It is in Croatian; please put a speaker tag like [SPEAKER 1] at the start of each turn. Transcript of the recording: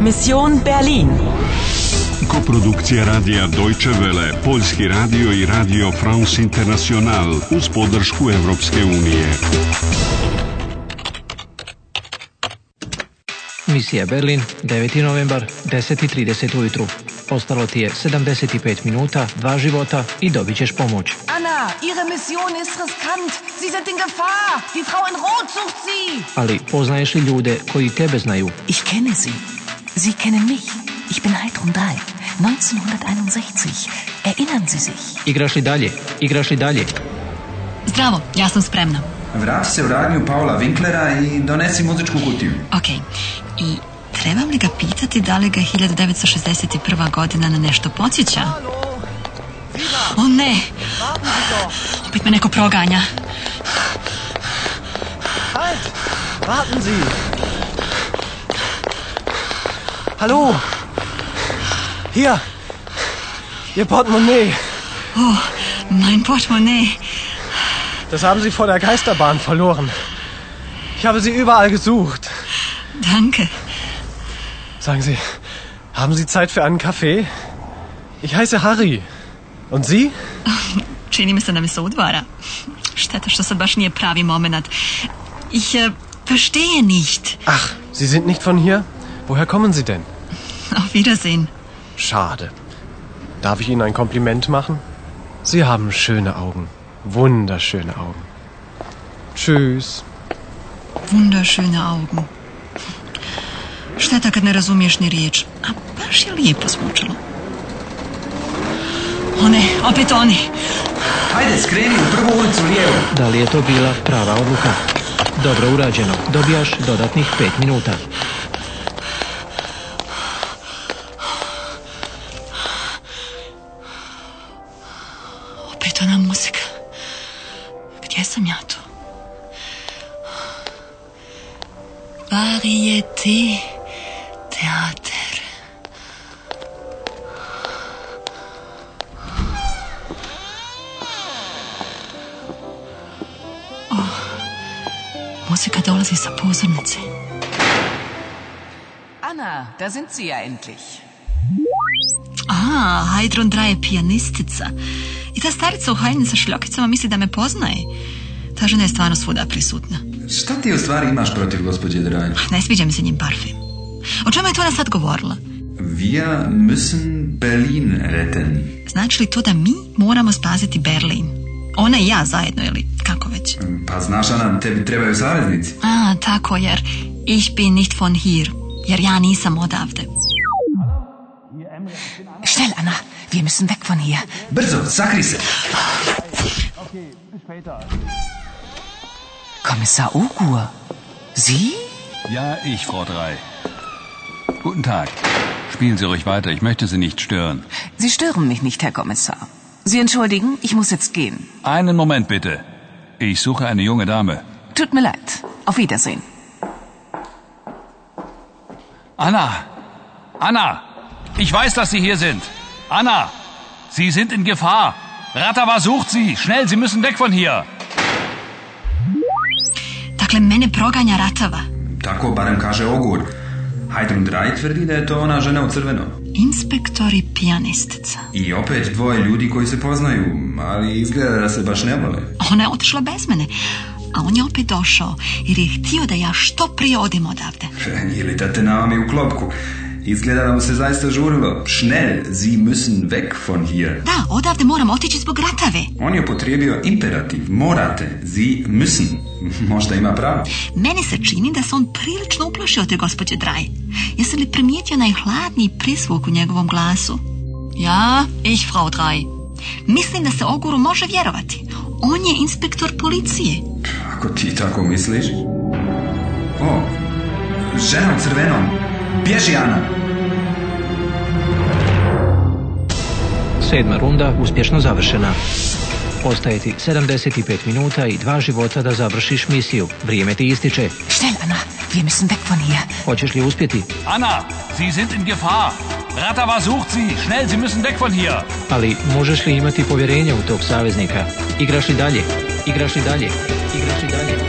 [SPEAKER 1] Mission Berlin.
[SPEAKER 2] Koprodukcija radija Deutsche Welle, Poljski radio i radio France International uz podršku Europske unije.
[SPEAKER 3] Misija Berlin, 9. novembar, 10.30 ujutru. Ostalo ti je 75 minuta, dva života i dobit ćeš pomoć.
[SPEAKER 4] Anna, Ihre Mission ist riskant. Sie sind in Gefahr. Die Frau in Rot sucht Sie.
[SPEAKER 3] Ali poznaješ li ljude koji tebe znaju?
[SPEAKER 5] Ich kenne Sie. Sie kennen mich. Ich bin Heidrun 3, 1961. Erinnern Sie sich?
[SPEAKER 3] Igraš li dalje? Igraš li dalje?
[SPEAKER 6] Zdravo, ja sam spremna.
[SPEAKER 7] Vrati se u radnju Paula Winklera i donesi muzičku kutiju.
[SPEAKER 6] Ok, i trebam li ga pitati da li ga 1961. godina na nešto podsjeća? O ne,
[SPEAKER 4] Warten Sie doch.
[SPEAKER 6] opet me neko proganja.
[SPEAKER 4] Halt. Warten Sie. Hallo. Hier. Ihr Portemonnaie.
[SPEAKER 6] Oh, mein Portemonnaie.
[SPEAKER 4] Das haben Sie vor der Geisterbahn verloren. Ich habe Sie überall gesucht.
[SPEAKER 6] Danke.
[SPEAKER 4] Sagen Sie, haben Sie Zeit für einen Kaffee? Ich heiße Harry. Und Sie?
[SPEAKER 6] Čini mi se da me se udvara. Šteta što sad baš nije pravi moment. Ich eh, verstehe nicht.
[SPEAKER 4] Ach, Sie sind nicht von hier? Woher kommen Sie denn?
[SPEAKER 6] Auf Wiedersehen.
[SPEAKER 4] Schade. Darf ich Ihnen ein Kompliment machen? Sie haben schöne Augen. Wunderschöne Augen. Tschüss.
[SPEAKER 6] Wunderschöne Augen. Šteta kad ne razumiješ ni riječ. A baš je lijepo zvučalo. O ne, opet oni.
[SPEAKER 7] Hajde, skreni u prvu ulicu lijevo.
[SPEAKER 3] Da li je to bila prava odluka? Dobro urađeno. Dobijaš dodatnih 5 minuta.
[SPEAKER 6] Opet ona muzika. Gdje sam ja tu? Varijeté teater. Oh, muzika dolazi sa pozornice.
[SPEAKER 5] Anna, da sind Sie ja endlich.
[SPEAKER 6] A, Heidrun Dra je pijanistica. I ta starica u haljini sa šljokicama misli da me poznaje. Ta žena je stvarno svuda prisutna.
[SPEAKER 7] Šta ti u stvari imaš protiv gospođe Draj?
[SPEAKER 6] Ne sviđa mi se njim parfem. O čemu je to ona sad govorila?
[SPEAKER 7] Wir müssen Berlin retten.
[SPEAKER 6] Znači li to da mi moramo spaziti Berlin? Ona i ja zajedno, ili kako već?
[SPEAKER 7] Pa znaš, Ana, tebi trebaju saveznici.
[SPEAKER 6] A, tako, jer ich bin nicht von hier. Jer ja nisam odavde.
[SPEAKER 5] Schnell, Anna. Wir müssen weg von hier.
[SPEAKER 7] Brzo, sakri se.
[SPEAKER 5] Kommissar Ogur. Sie?
[SPEAKER 8] Ja, ich, Frau Drei. Guten Tag. Spielen Sie ruhig weiter, ich möchte Sie nicht stören.
[SPEAKER 5] Sie stören mich nicht, Herr Kommissar. Sie entschuldigen, ich muss jetzt gehen.
[SPEAKER 8] Einen Moment bitte. Ich suche eine junge Dame.
[SPEAKER 5] Tut mir leid. Auf Wiedersehen.
[SPEAKER 8] Anna! Anna! Ich weiß, dass Sie hier sind. Anna! Sie sind in Gefahr. Ratawa sucht Sie. Schnell, Sie müssen weg von hier.
[SPEAKER 6] Dakle, mene proganja ratava.
[SPEAKER 7] Tako barem kaže Ogur. Hajdun Draj tvrdi da je to ona žena u crvenom.
[SPEAKER 6] Inspektori pijanistica.
[SPEAKER 7] I opet dvoje ljudi koji se poznaju, ali izgleda da se baš ne vole.
[SPEAKER 6] Ona je otišla bez mene. A on je opet došao, jer je htio da ja što prije odim odavde.
[SPEAKER 7] Ili da te navami u klopku. Izgleda da mu se zaista žurilo. Schnell, sie müssen weg von hier.
[SPEAKER 6] Da, odavde moram otići zbog ratave.
[SPEAKER 7] On je potrijebio imperativ, morate, sie müssen. Možda ima pravo.
[SPEAKER 6] Meni se čini da se on prilično uplašio te gospođe Draj. Jesi li primijetio onaj hladni prisvuk u njegovom glasu? Ja, ich Frau Draj. Mislim da se Oguru može vjerovati. On je inspektor policije.
[SPEAKER 7] Ako ti tako misliš... O, žena u crvenom. Bježi, Ana.
[SPEAKER 3] Sedma runda uspješno završena. Ostaje ti 75 minuta i dva života da završiš misiju. Vrijeme ti ističe.
[SPEAKER 5] Schnell, Anna. Wir müssen weg von hier.
[SPEAKER 3] Hoćeš li uspjeti?
[SPEAKER 8] Anna! Sie sind in Gefahr. Ratawa sucht Sie. Schnell, Sie müssen weg von hier.
[SPEAKER 3] Ali možeš li imati povjerenja u tog saveznika? Igraš li dalje? Igraš li dalje? Igraš li dalje?